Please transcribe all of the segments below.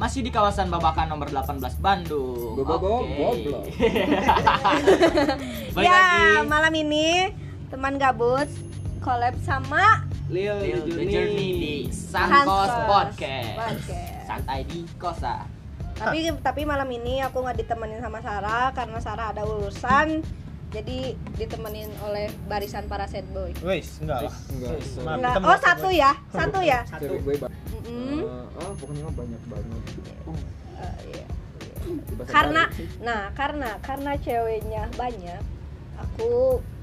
Masih di kawasan Babakan nomor 18 Bandung. Bobobo, goblok. Balik ya, lagi. malam ini teman gabut collab sama Lil, Lil the The journey. Journey di Sankos Sankos Podcast. Podcast. Santai di kosa. tapi tapi malam ini aku nggak ditemenin sama Sarah karena Sarah ada urusan. Jadi ditemenin oleh barisan para sad boy. Wes, enggak lah. Enggak, Maaf, Nggak- kita oh merasa satu boy. ya, satu ya. cewek gue ba- Hmm? Mm-mm. Eh, oh, pokoknya mah banyak banget. Eh, iya. Tiba-tiba Karena, balik sih. nah karena karena ceweknya banyak, aku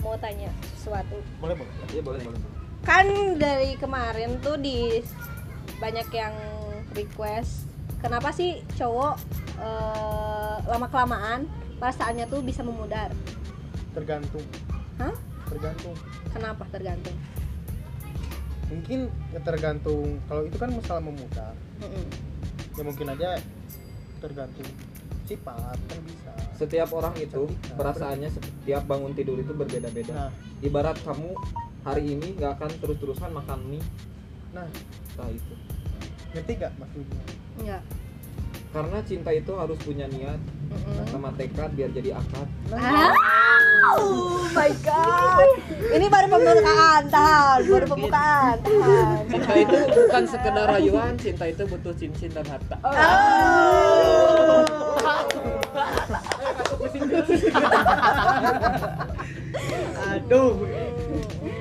mau tanya sesuatu. Boleh, boleh. Iya boleh boleh. kan dari kemarin tuh di banyak yang request kenapa sih cowok lama kelamaan perasaannya tuh bisa memudar Tergantung, Hah? tergantung. kenapa tergantung Mungkin ya tergantung kalau itu kan masalah memutar. Mm-mm. Ya mungkin aja tergantung sifat kan bisa. Setiap orang itu perasaannya setiap bangun tidur itu berbeda-beda. Nah, Ibarat kamu hari ini nggak akan terus-terusan makan mie, nah, nah itu. ngerti nggak maksudnya? enggak Karena cinta itu harus punya niat Hmm? Mm-mm. sama tekad biar jadi akad. Ah, Oh my god ini baru pembukaan tahan baru pembukaan tahan Cinta itu bukan sekedar rayuan, cinta itu butuh cincin dan harta. Oh. Aduh,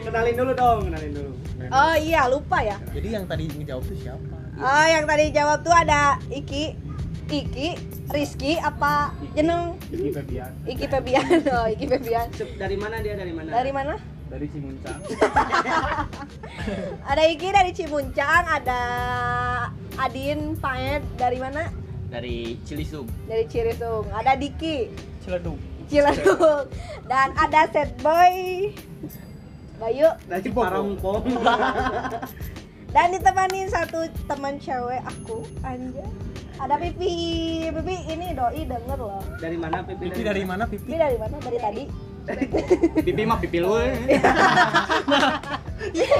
kenalin dulu dong, kenalin dulu. oh iya lupa ya Jadi yang tadi ngejawab tuh siapa? Oh, yang tadi jawab tuh ada Iki, Iki, Rizky apa jeneng Ini Febian. Iki Febian. Oh, Iki Febian. Dari mana dia? Dari mana? Dari mana? Dari Cimuncang. Ada Iki dari Cimuncang, ada Adin Paet dari mana? Dari Cilisub. Dari Ciritung. Ada Diki Ciledug. Ciledug dan ada Set Boy Bayu Dari Parangpong. dan ditemani satu teman cewek aku Anja. Ada Pipi. Pipi ini doi denger loh. Dari mana Pipi? Pipi dari mana Pipi? Pipi dari mana? Dari tadi. Pipi mah pipi lu. iya.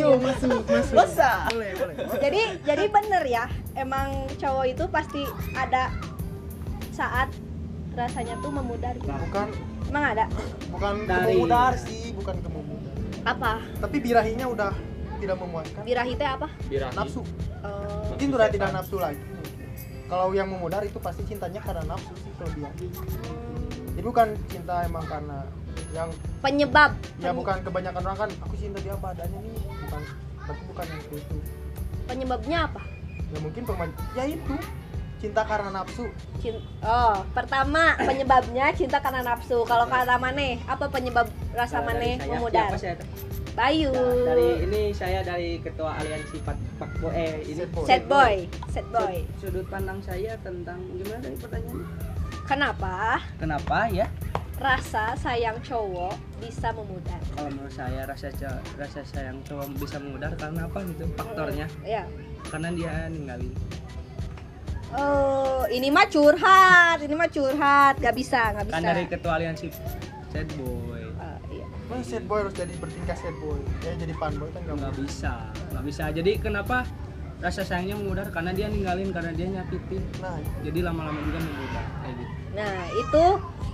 Yo masuk masuk. Boleh boleh. jadi jadi bener ya emang cowok itu pasti ada saat rasanya tuh memudar gitu. Nah, Bukan emang ada bukan Dari- kemudar sih, bukan kemudar. apa Tapi birahinya udah tidak memuaskan. birahi teh apa Birahi. Nafsu. Eh, Mungkin sudah tidak nafsu lagi. Kalau yang memudar itu pasti cintanya karena nafsu sih kalau birahi. Jadi bukan cinta emang karena yang penyebab ya bukan kebanyakan orang kan aku cinta dia apa adanya nih bukan tapi bukan yang itu, itu penyebabnya apa ya mungkin permen ya itu cinta karena nafsu Cin- oh pertama penyebabnya cinta karena nafsu kalau kata maneh apa penyebab rasa maneh memudar Siapa Eh, saya? Bayu Dari ini saya dari Ketua Aliansi Pak Pak Bo- eh ini set boy set boy Sud- Sudut pandang saya tentang gimana tadi pertanyaannya? kenapa Kenapa ya? rasa sayang cowok bisa memudar Kalau menurut saya rasa ce- rasa sayang cowok bisa mengudar karena apa gitu faktornya? ya Karena dia ninggalin. Oh, ini mah curhat, ini mah curhat, gak bisa, gak bisa. Kan dari Ketua Aliansi Sad Boy. Eh, iya. Emang sad boy harus jadi bertingkah sad boy ya jadi panboy kan nggak nggak mungkin bisa nggak bisa jadi kenapa rasa sayangnya memudar karena dia ninggalin karena dia nyakitin nah jadi lama-lama juga memudar kayak gitu Nah, itu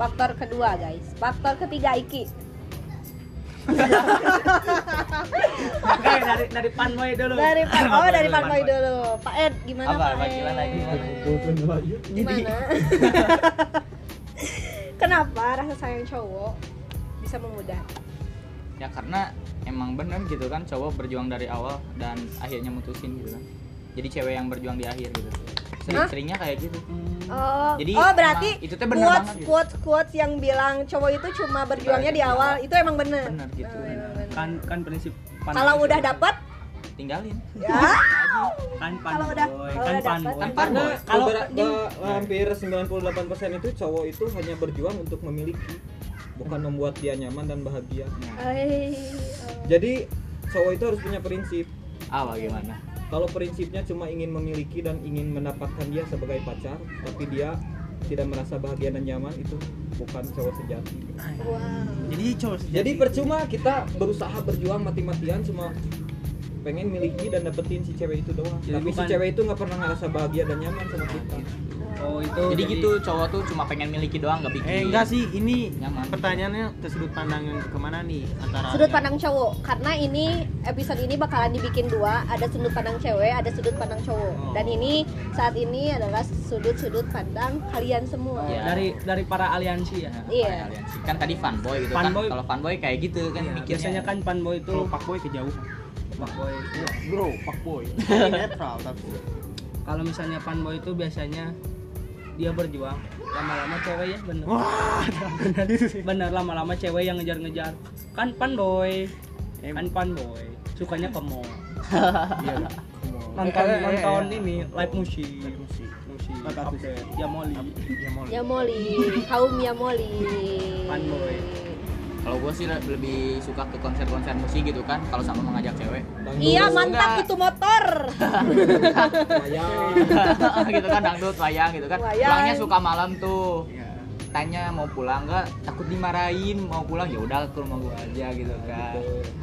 faktor kedua, guys. Faktor ketiga Iki. oke dari dari panboy dulu Dari Pak Oh, dari Pak Boy Boy. dulu. Pak Ed gimana Apa, Pak Ed? gimana, gimana? Gimana? Kenapa rasa sayang cowok bisa memudar? Ya karena emang bener gitu kan cowok berjuang dari awal dan akhirnya mutusin gitu kan. Jadi cewek yang berjuang di akhir gitu. Sering-seringnya kayak gitu. Oh, Jadi oh berarti emang itu teh bener quotes, banget gitu. quotes, quotes yang bilang cowok itu cuma berjuangnya di awal, itu emang bener. Bener iya. gitu. Oh, emang bener. kan kan prinsip pan Kalau udah dapet, Tinggalin. ya. kan kalau panboy udah- kalau kan udah panboy Kan Kan panboy. Kalau kalau hampir 98% itu cowok itu hanya berjuang untuk memiliki, bukan membuat dia nyaman dan bahagia. Nah. Ay, oh. Jadi cowok itu harus punya prinsip. Apa gimana? Kalau prinsipnya cuma ingin memiliki dan ingin mendapatkan dia sebagai pacar, tapi dia tidak merasa bahagia dan nyaman itu bukan cowok sejati. Ah, oh, Wow. jadi cowok Jadi percuma kita berusaha berjuang mati-matian cuma pengen miliki dan dapetin si cewek itu doang Jadi tapi si bukan- cewek itu nggak pernah ngerasa bahagia dan nyaman sama kita oh itu jadi gitu cowok tuh cuma pengen miliki doang nggak bikin Eh enggak sih, ini Nyaman. pertanyaannya ke sudut pandang yang kemana nih antara sudut pandang cowok karena ini episode ini bakalan dibikin dua ada sudut pandang cewek ada sudut pandang cowok Oh. dan ini saat ini adalah sudut-sudut pandang kalian semua ya. Iya. dari dari para aliansi ya Iya. Kayak aliansi. kan tadi fanboy gitu Fanboy. kan kalau fanboy kayak gitu kan Iya, mikirnya biasanya kan panboy itu kalau fuckboy kejauhan. fuckboy. Bro, fuckboy. Ini netral tapi kalau misalnya panboy itu biasanya dia berjuang lama-lama cewek ya bener wah, bener bener lama-lama cewek yang ngejar-ngejar kan panboy kan panboy sukanya ke mall nonton Iya, Eh, eh, eh, nonton eh. ini live musik Live musik. musik Live update ya moli ya mau. ya moli kaum ya moli Fanboy. kalau gue sih le- lebih suka ke konser-konser musik gitu kan kalau sama mengajak cewek Dulu iya mantap enggak. itu motor gitu kan dangdut wayang gitu kan Wayang. pulangnya suka malam tuh Iya. tanya mau pulang nggak takut dimarahin mau pulang ya udah ke rumah gue aja gitu Iya, kan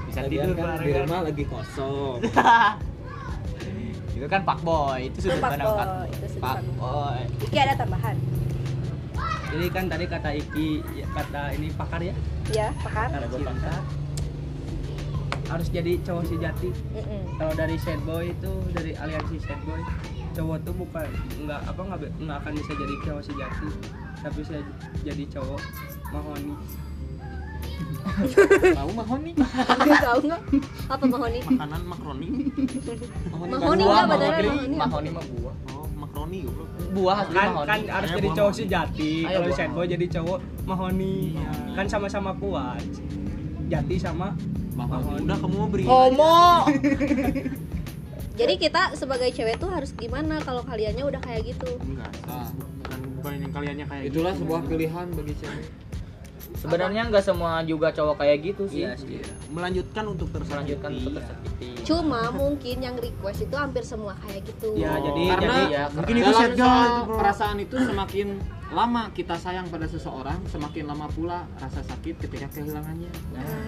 bisa Lagian tidur kan bareng di rumah lagi kosong itu kan pak boy itu sudut Itu Pak pandang kan. Boy, pak itu sudut pak pandang. boy Iki ada tambahan jadi kan tadi kata Iki ya, kata ini pakar ya ya pakar pakar cinta harus jadi cowok sejati Mm-mm. kalau dari sad boy itu dari aliansi sad boy cowok tuh bukan nggak apa nggak be- nggak akan bisa jadi cowok sejati tapi bisa jadi cowok mahoni mau mahoni tahu nggak apa mahoni Makanan makaroni. mahoni Buah, nggak beneran mahoni. mahoni apa? mahoni mah buah Oh, makaroni goblok. buah asli kan mahoni kan harus Ayo, jadi buah cowok mahoni. sejati Ayo, kalau buah sad boy jadi cowok mahoni kan sama-sama kuat jati sama mahoni Mahoni. Udah kamu mau beri. Oh. homo jadi kita sebagai cewek tuh harus gimana kalau kaliannya udah kayak gitu Enggak. Ah. Bukan bukan yang kaliannya kayak itulah gitu. sebuah pilihan bagi cewek sebenarnya nggak semua juga cowok kayak gitu sih Iya sih. melanjutkan untuk tersakiti. melanjutkan untuk tersakiti cuma mungkin yang request itu hampir semua kayak gitu Iya. ya jadi karena jadi ya, karena- Mungkin itu dalam sad girl, soal bro. perasaan itu semakin lama kita sayang pada seseorang semakin lama pula rasa sakit ketika kehilangannya Nah,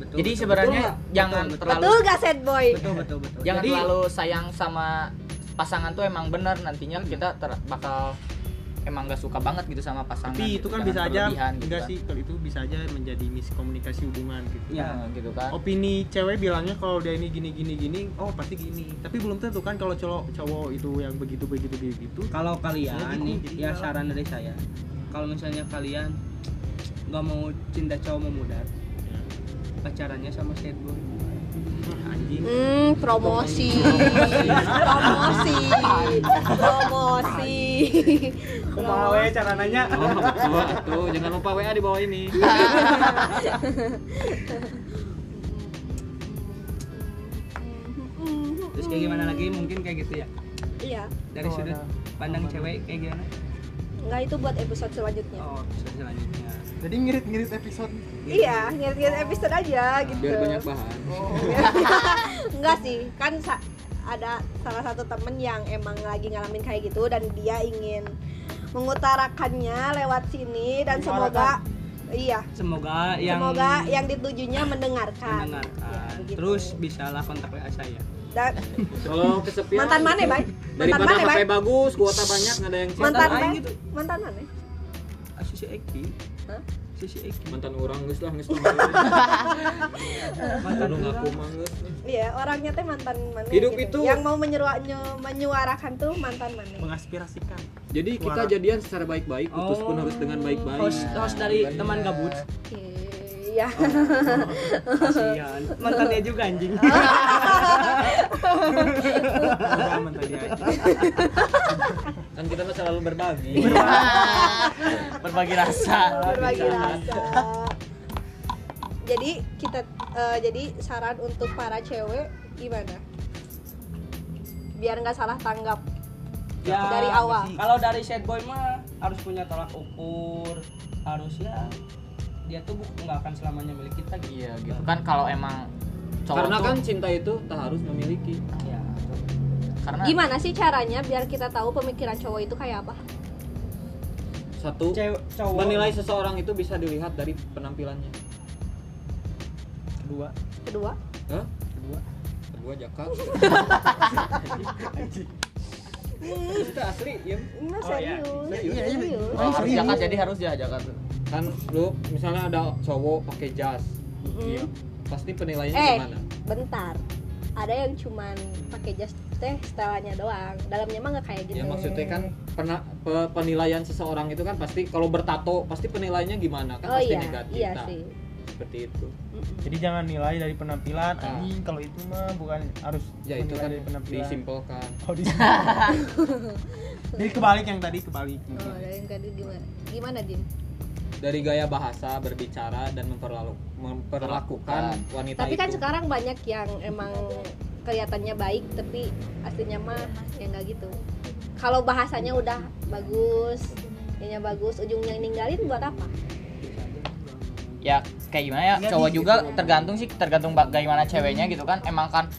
betul, Nah, jadi betul. sebenarnya Betul nggak? jangan Betul, terlalu betul gak sad boy betul betul betul jangan Jadi, terlalu sayang sama pasangan tuh emang benar Hmm. nantinya kita ter- bakal emang gak suka banget gitu sama pasangan Tapi itu gitu, kan jangan bisa aja berlebihan gitu enggak kan. sih kalau itu bisa aja menjadi miskomunikasi hubungan gitu. ya Nah, gitu kan opini cewek bilangnya kalau dia ini gini gini gini oh pasti gini tapi belum tentu kan kalau cowok cowok itu yang begitu begitu gitu, begitu kalau Jadi kalian ini nih jadi ya galak. saran dari saya kalau misalnya kalian nggak mau cinta cowok memudar pacarannya sama sad boy ya, anjing Hmm, promosi. promosi. Promosi. kumaha we cara nanya tuh jangan lupa WA di bawah ini terus kayak gimana lagi mungkin kayak gitu ya Iya, dari Oh, sudut ada. pandang cewek kayak gimana enggak itu buat episode selanjutnya. oh episode selanjutnya Jadi ngirit-ngirit episode Iya, ngirit-ngirit episode aja gitu. biar banyak bahan Enggak sih, kan sa- ada salah satu temen yang emang lagi ngalamin kayak gitu dan dia ingin mengutarakannya lewat sini dan semoga iya, semoga yang semoga iya. yang ditujunya mendengarkan. mendengarkan Ya, begitu. terus bisalah kontak WA saya Dan- kalau Oh, kesepian mantan mana, Bay? Mantan daripada mana, HP Bay? bagus kuota banyak nggak ada yang cinta Mantan aing mana? gitu. Mantan mana? Ah, sisi Eki Hah? sisi Eki mantan orang geus lah geus mantan ngaku orang. manggus Iya, orangnya teh mantan mana Hidup gitu. itu- yang mau menyerua, nyu- menyuarakan tuh mantan mana. mengaspirasikan jadi kita jadian secara baik-baik putus pun Oh. harus dengan baik-baik host, host dari teman gabut Iya. kasihan mantannya juga anjing udah aman tadi aja kan kita mah selalu berbagi berbagi rasa Berbagi Iya. rasa. Jadi kita eh, jadi saran untuk para cewek gimana? Biar nggak salah tanggap. Ya. Ya, Dari awal. Kalau dari sad boy mah harus punya tolak ukur, harus ya dia tuh bu- nggak akan selamanya milik kita gitu. iya gitu kan kalau emang cowok karena tuh- kan cinta itu tak harus memiliki Ya. karena Gimana sih caranya biar kita tahu pemikiran cowok itu kayak apa? satu Cewek cowok menilai seseorang itu bisa dilihat dari penampilannya kedua Kedua, Hah? gua Jaka Itu asli, ya. Enggak Oh, ya. serius. Iya, iya. serius. Oh, harus serius. jakat jadi harus ya jakat. kan lu misalnya ada cowok pakai jas Mm. iya pasti penilaiannya Eh, gimana bentar. Ada yang cuman pakai jas teh setelannya doang. Dalamnya mah nggak Iya, kayak gitu. ya maksudnya kan pena- pe- penilaian seseorang itu kan pasti kalau bertato pasti penilaiannya gimana kan oh pasti iya, negatif iya Nah, sih. seperti itu Mm-mm. Jadi jangan nilai dari penampilan, Ah. Kan, anjing kalau itu mah bukan harus ya itu menilai kan dari penampilan. disimpulkan Oh, di Jadi kebalik yang tadi kebalik. Oh, ada yang tadi gimana? Gimana, Jin? dari gaya bahasa berbicara dan memperlalu memperlakukan wanita Tapi kan itu sekarang banyak yang emang kelihatannya baik tapi aslinya mah ya nggak gitu. Kalau bahasanya udah bagus, ininya bagus, ujungnya ninggalin buat apa? ya kayak gimana ya gitu. cowok juga tergantung sih tergantung bagaimana ceweknya gitu kan emang kan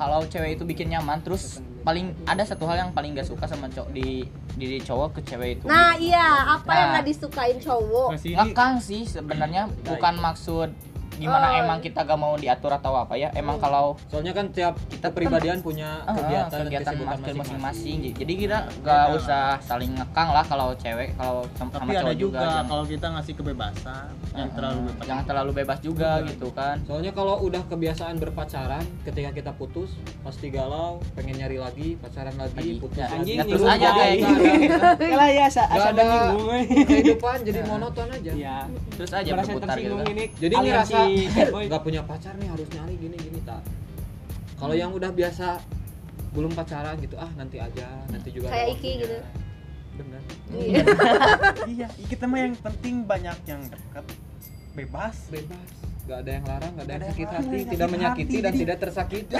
kalau cewek itu bikin nyaman terus paling ada satu hal yang paling gak suka sama cowok di diri cowok ke cewek itu Nah iya, apa yang Nah. nggak disukain cowok? Masih nggak kan sih sebenarnya bukan maksud gimana Oh. Hmm. emang kita gak mau diatur atau apa ya emang kalau soalnya kan tiap kita pribadian punya eh, Ah, kegiatan, dan kegiatan kesibukan masker masing-masing masing-masing gitu. jadi kita Iya, gak usah saling ngekang lah kalau cewek kalau sama Tapi cowok ada juga, juga jangan- kalau kita ngasih kebebasan, yang eh, terlalu bebas. jangan terlalu bebas juga gitu kan Soalnya kalau udah kebiasaan berpacaran, ketika kita putus pasti galau, pengen nyari lagi, pacaran lagi, Lagi. putus Ya, lagi. ya, terus aja kayak Nggak ada- Kalau ya nggak gitu. ada kehidupan jadi monoton aja. Iya. terus aja berputar gitu kan. ini. Jadi aliansi ngerasa bad boy. nggak punya pacar nih harus nyari gini gini tak. Kalau yang udah biasa belum pacaran gitu ah nanti aja nanti juga ada Kayak Iki waktunya. gitu. bener Iya. Iya, kita mah yang penting banyak yang dekat, bebas. bebas nggak ada yang larang nggak ada yang Nggak ada sakit yang hati larang, tidak nggak ada yang sakit menyakiti hati. dan tidak tersakiti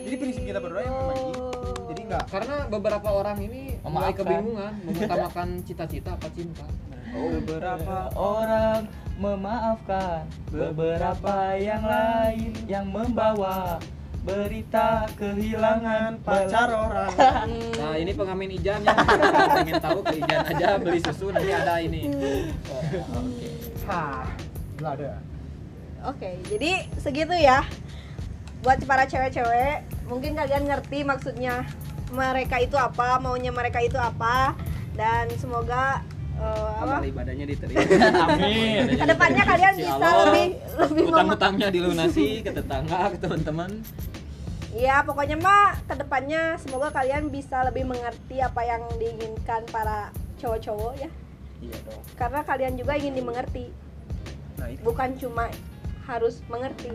Jadi prinsip kita berdua yang memang gitu. jadi nggak karena beberapa orang ini mulai Memaafkan. kebingungan mengutamakan cita-cita apa cinta Oh, Beberapa orang memaafkan Beberapa yang lain yang membawa Berita kehilangan Pacar orang. Nah ini pengamen Ijan ya. pengen tahu ke Ijan aja beli susu nanti ada ini. Hah, nggak ada. Oke, jadi segitu ya. Buat para cewek-cewek, mungkin kalian ngerti maksudnya mereka itu apa, maunya mereka itu apa, dan semoga eh, apa, Amal ibadahnya diterima. Amin kedepannya kalian Si bisa Allah, lebih lebih mema- Utang-utangnya dilunasi ke tetangga, ke teman-teman. Iya, pokoknya Mbak, kedepannya semoga kalian bisa lebih mengerti apa yang diinginkan para cowok-cowok ya. Iya dong. Karena kalian juga ingin dimengerti, Nah, itu bukan cuma harus mengerti.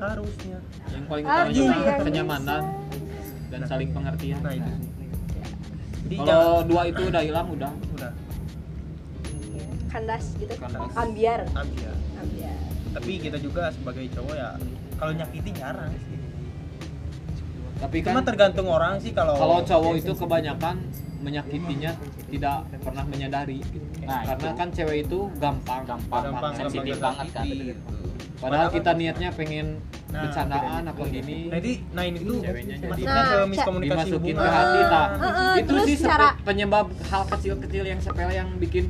harusnya. Yang paling Aduh, utama juga yang kenyamanan iya. dan saling pengertian. Nah, itu sih. Jadi jangan- Kalau dua itu udah hilang udah. udah Kandas gitu. Kandas. Ambiar. ambil. Ambiar. Iya. Tapi kita juga sebagai cowok ya kalau nyakiti jarang sih. Tapi Itu kan mah tergantung orang sih kalau kalau cowok itu kebanyakan menyakitinya tidak pernah menyadari gitu. Nah, karena itu. kan cewek itu gampang Gampang, sensitif banget kan padahal Padahal kita niatnya pengen Nah, bercandaan apa gini Jadi nah ini tuh Ceweknya jadi- maksudnya ke Nah, miskomunikasi dimasukin ke hubungan. hati tak Eh, eh, itu terus sih sepe- cara- penyebab hal kecil-kecil yang sepele yang bikin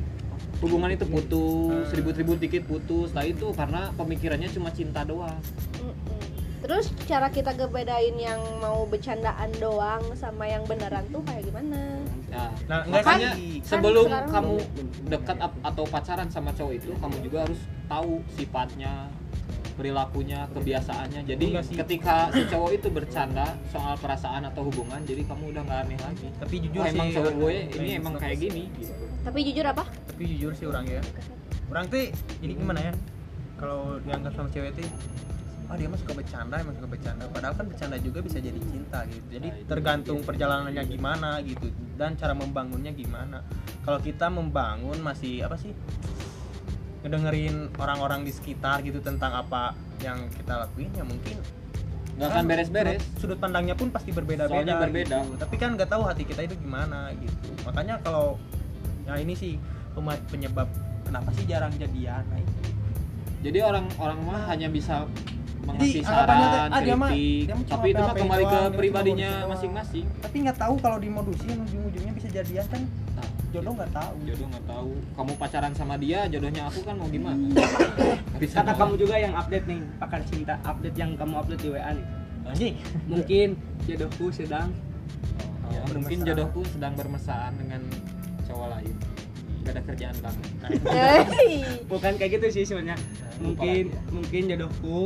hubungan itu putus Eh. ribut-ribut dikit putus lah itu karena pemikirannya cuma cinta doang Mm-mm. Terus cara kita ngebedain yang mau bercandaan doang sama yang beneran tuh kayak gimana? nah Nah, enggak Kan- sih. sebelum sekarang- kamu dekat ap- atau pacaran sama cowok itu kamu juga harus tahu sifatnya perilakunya kebiasaannya jadi Enggak sih. ketika si cowok itu bercanda soal perasaan atau hubungan jadi kamu udah nggak aneh lagi Tapi jujur oh, sih emang cowok gue orang- ini emang kayak gini gitu Tapi jujur apa? tapi jujur sih orang ya orang tuh ini gimana ya kalau dianggap sama cewek tuh oh dia mah suka bercanda emang suka bercanda padahal kan bercanda juga bisa jadi cinta gitu jadi Nah, itu tergantung perjalanannya gimana gitu dan cara membangunnya gimana kalau kita membangun masih apa sih ngedengerin orang-orang di sekitar gitu tentang apa yang kita lakuin ya mungkin nggak Kan akan beres-beres sudut, sudut pandangnya pun pasti berbeda-beda Soalnya berbeda. gitu. tapi kan nggak tahu hati kita itu gimana gitu makanya kalau ya ini sih pema- penyebab kenapa sih jarang jadian nah itu. jadi orang-orang mah hanya bisa Jadi, mengasih anggapannya teh, saran, ah, dia mah- kritik, dia mah cuma tapi itu mah PHP kembali ke doang, dia cuma pribadinya bonus doang. masing-masing. tapi nggak tahu kalau dimodusin ujung-ujungnya bisa jadian kan Nah, jodoh nggak tahu jodoh nggak tahu. Kamu pacaran sama dia, jodohnya aku kan mau gimana? bisa Hmm. Kata nolak. kamu juga yang update nih, pakar cinta update yang kamu update di WA nih. anjing mungkin jodohku sedang Ya, mungkin jodohku sedang bermesraan dengan cowok lain. Gak ada kerjaan banget. Hei. bukan kayak gitu sih sebenarnya Nah, mungkin lupa lagi mungkin jodohku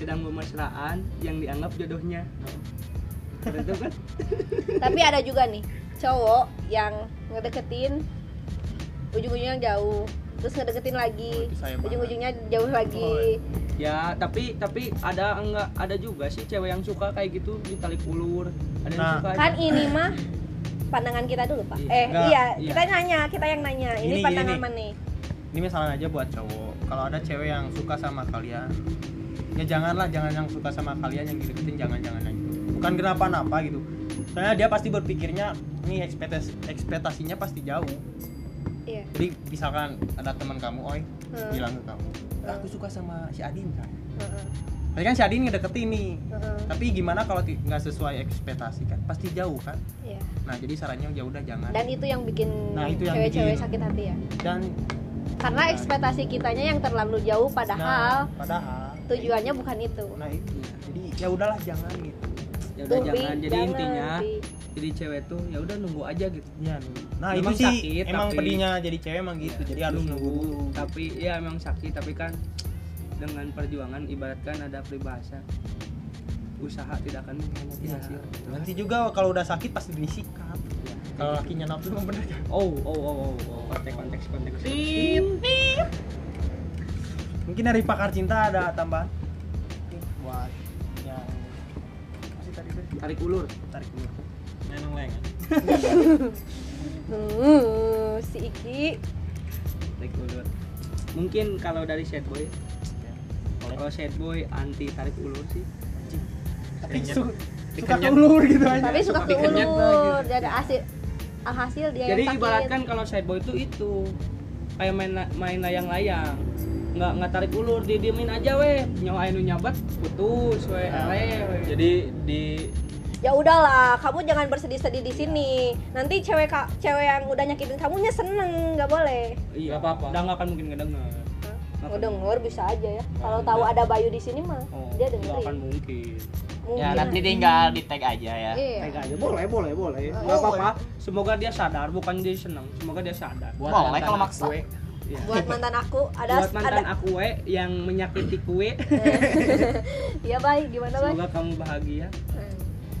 sedang bermesraan yang dianggap jodohnya Keren tuh kan Tapi ada juga nih cowok yang ngedeketin ujung-ujungnya jauh, terus ngedeketin Oh, lagi, itu saya banget. ujung-ujung-ujungnya jauh lagi. ya tapi tapi ada enggak ada juga sih cewek yang suka kayak gitu ditarik ulur ada yang Nah. suka Kan ini mah pandangan kita dulu, Pak. Iya. Eh, Enggak, iya, iya. kita nanya, kita yang nanya. Ini Gini, pandangan gini. mana? ini misalnya aja buat cowok kalau ada cewek yang suka sama kalian ya janganlah jangan yang suka sama kalian yang dideketin jangan jangan aja bukan kenapa-napa gitu soalnya dia pasti berpikirnya ini ekspektasi ekspektasinya pasti jauh Iya. jadi misalkan ada teman kamu oi Heeh, bilang ke kamu "Ah, aku suka sama si Adin kan heeh, tapi kan si Adin ngedeketin nih heeh. tapi gimana kalau ti- nggak sesuai ekspektasi kan pasti jauh kan Iya. nah jadi sarannya ya udah jangan Dan itu yang bikin Nah, itu yang cewek-cewek bikin. sakit hati ya. dan Karena Nah. ekspektasi kitanya yang terlalu jauh nah, padahal padahal tujuannya bukan itu. nah itu jadi ya udahlah jangan gitu ya udah Pi, jangan jadi jangan, intinya Pi. jadi cewek tuh ya udah nunggu aja gitu ya nunggu. nah Memang itu sih sakit, emang tapi- Iya, pedihnya jadi cewek emang gitu jadi harus nunggu dulu tapi ya emang sakit tapi kan dengan perjuangan ibaratkan ada peribahasa usaha tidak akan mengkhianati Iya. hasil Iya. nanti juga kalau udah sakit pasti disikat kalau lakinya nafsu emang bener kan? oh oh oh oh, oh. konteks konteks konteks mungkin dari pakar cinta ada tambahan buat yang masih tadi tuh tarik ulur tarik dulu Neneng leng. Uh, si Iki tarik ulur mungkin kalau dari sad boy Eh? kalau sad boy anti tarik ulur sih tapi Kenyet. su- suka Dikenyet. keulur gitu aja tapi suka Tapi kenyat keulur dia ada hasil alhasil dia jadi yang sakit ibaratkan kalau sad boy itu itu kayak main main layang-layang nggak nggak tarik ulur dia diemin aja weh nyawa anu nyabat putus ya, weh Ah. ale weh Jadi di ya udahlah kamu jangan bersedih-sedih di sini nanti cewek ka- cewek yang udah nyakitin kamunya seneng nggak boleh Iya, Nggak apa-apa. Udah nggak akan mungkin ngedenger. Nggak denger bisa aja ya kalau tahu ada Bayu di sini mah Oh, dia nggak akan dengerin mungkin. mungkin ya nanti tinggal di tag aja ya iya Kayak aja boleh, boleh, boleh. Ah, Nggak apa-apa. Semoga dia sadar, bukan dia senang. Semoga dia sadar. Boleh kalau mantan aku, maksa. we. Iya. buat mantan aku ada Buat mantan ada aku we yang menyakiti kue, iya baik gimana baik semoga kamu bahagia.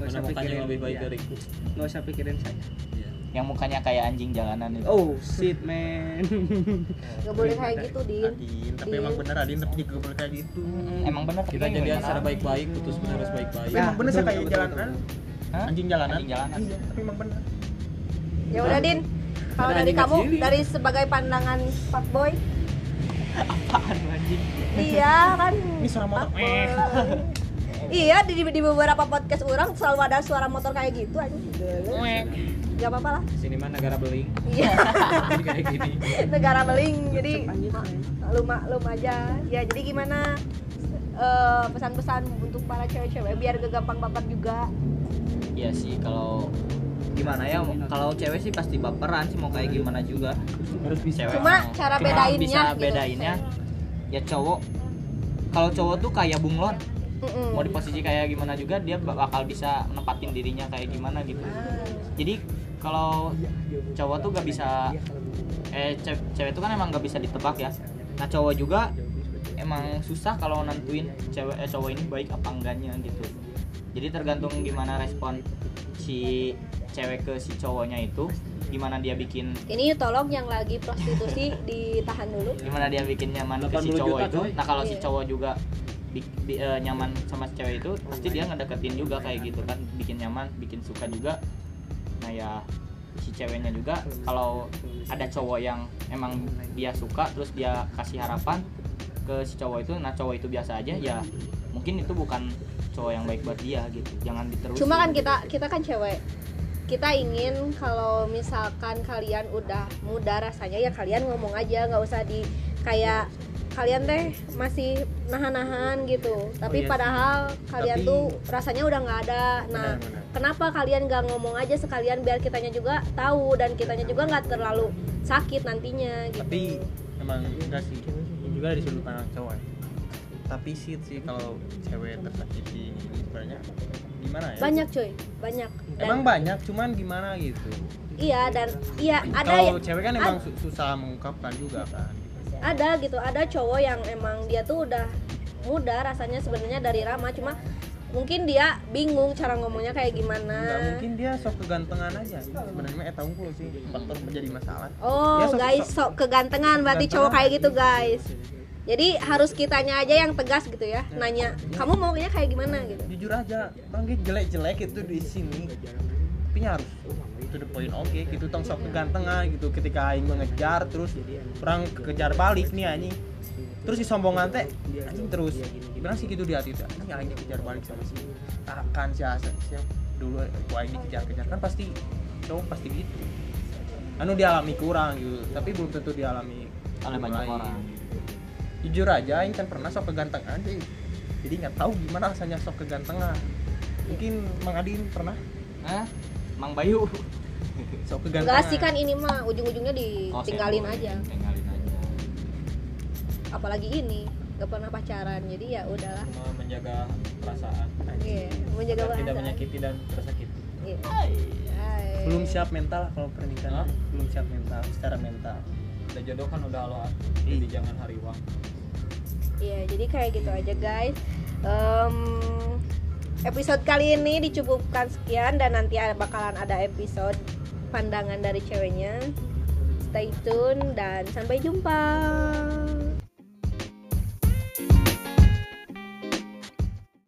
Nggak usah Menemukan pikirin yang lebih baik iya. dariku. Nggak usah pikirin saya. Iya. yang mukanya kayak anjing jalanan itu Oh, shit man. nggak boleh kayak gitu din Adin tapi Din. emang bener Adin tapi juga bener kayak gitu Mm, emang bener Kita Iya, tapi jadian gimana? secara baik-baik, putus benar harus baik-baik. tapi emang bener sih betul, kayak betul, jalanan Hah? anjing jalanan Anjing jalanan. Iya, tapi emang bener ya udah din kalau Ada dari anjing kamu kecil, Din. dari sebagai pandangan Pak Boy iya kan ini suara motor fuckboy. Eh. iya di, di beberapa podcast orang selalu ada suara motor kayak gitu aja nggak apa-apa lah Di sini mah negara beling. iya Jadi kayak gini. negara beling jadi Anjing, anjing. maklum maklum aja ya jadi gimana eh, pesan-pesan untuk para cewek-cewek biar gak gampang baper juga Iya sih kalau gimana ya kalau cewek sih pasti baperan sih mau kayak gimana juga harus bisa cewek Cuma mau- cara cuma bedainnya bisa gitu. bedainnya ya cowok kalau cowok tuh kayak bunglon Mm-mm. mau di posisi kayak gimana juga dia ba- bakal bisa menempatin dirinya kayak gimana gitu jadi kalau cowok tuh gak bisa eh ce- cewek tuh kan emang gak bisa ditebak ya nah cowok juga emang susah kalau nentuin cewek eh, cowok ini baik apa enggaknya gitu jadi tergantung gimana respon si cewek ke si cowoknya itu gimana dia bikin ini tolong yang lagi prostitusi ditahan dulu gimana dia bikin nyaman ke si 80 cowok juta, itu coy. nah kalau si Iya. cowok juga bi- bi- eh, nyaman sama si cewek itu pasti dia ngedeketin juga kayak gitu kan bikin nyaman bikin suka juga nah ya si ceweknya juga kalau ada cowok yang emang dia suka terus dia kasih harapan ke si cowok itu nah cowok itu biasa aja ya mungkin itu bukan cowok yang baik buat dia gitu jangan diterusin cuma kan kita kita kan cewek kita ingin kalau misalkan kalian udah muda rasanya ya kalian ngomong aja nggak usah di kayak kalian teh masih nahan-nahan gitu tapi iya sih. padahal kalian Tapi- tuh rasanya udah nggak ada nah Benar, kenapa kalian nggak ngomong aja sekalian biar kitanya juga tahu dan kitanya juga nggak terlalu sakit nantinya gitu tapi emang enggak sih Ini juga dari sudut pandang cowok ya. tapisit sih kalau cewek tersakiti ini sebenarnya gimana ya banyak cuy banyak dan emang banyak cuman gimana gitu iya dan iya ada ya kalau cewek kan emang ad- su- susah mengungkapkan juga kan ada gitu ada cowok yang emang dia tuh udah muda rasanya sebenarnya dari Rama cuma mungkin dia bingung cara ngomongnya kayak nggak gimana mungkin dia sok kegantengan aja sebenarnya eta unggul sih faktor menjadi masalah Oh, Ya, sok- guys, sok kegantengan berarti Kegantengan. cowok kayak gitu, guys. Jadi harus kitanya aja yang tegas gitu ya, nanya, "Kamu maunya kayak gimana?" gitu. jujur aja orang ge jelek-jelek itu di sini tapi nya harus to the point oke gitu tong sok kegantengan gitu ketika aing mengejar terus orang kejar balik nih anjing terus si sombongan teh anjing terus bilang sih gitu di hati teh anjing aing dikejar balik sama si akan si Hasan siap dulu aku aing dikejar-kejar kan pasti cowok pasti gitu anu dialami kurang gitu tapi belum tentu dialami Oleh banyak lain. orang. jujur aja ini kan pernah sok kegantengan sih jadi nggak tahu gimana rasanya sok kegantengan mungkin Mang Adin pernah Hah? Mang Bayu. sok Enggak kegantengan Oh, sih kan ini mah ujung-ujungnya ditinggalin aja. Oh, Tinggalin aja. Apalagi ini gak pernah pacaran, jadi ya udahlah. cuma menjaga perasaan Iya, menjaga agar tidak perasaan. menyakiti dan tersakiti Iya. belum siap mental kalau pernikahan Hah? belum siap mental secara mental udah jodoh kan udah lo jadi jangan hariwang Iya, jadi kayak gitu aja guys. Em, episode kali ini dicukupkan sekian dan nanti ada- bakalan ada episode pandangan dari ceweknya. Stay tune dan sampai jumpa.